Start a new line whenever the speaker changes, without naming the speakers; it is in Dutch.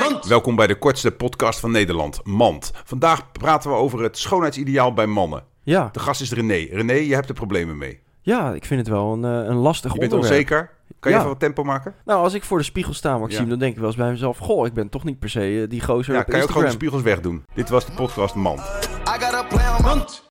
Mand. Welkom bij de kortste podcast van Nederland, Mand. Vandaag praten we over het schoonheidsideaal bij mannen.
Ja,
De gast is René. René, je hebt er problemen mee.
ja, ik vind het wel een, eh, een lastig
Je bent
onderwerp.
onzeker. Kan je
Ja.
even wat tempo maken?
Nou, als ik voor de spiegel sta, Maxime,
Ja.
dan denk ik wel eens bij mezelf... Goh, ik ben toch niet per se eh, die gozer
Ja,
op
kan je ook gewoon de
Instagram.
spiegels wegdoen. Dit was de podcast Mand.
I got a plan on my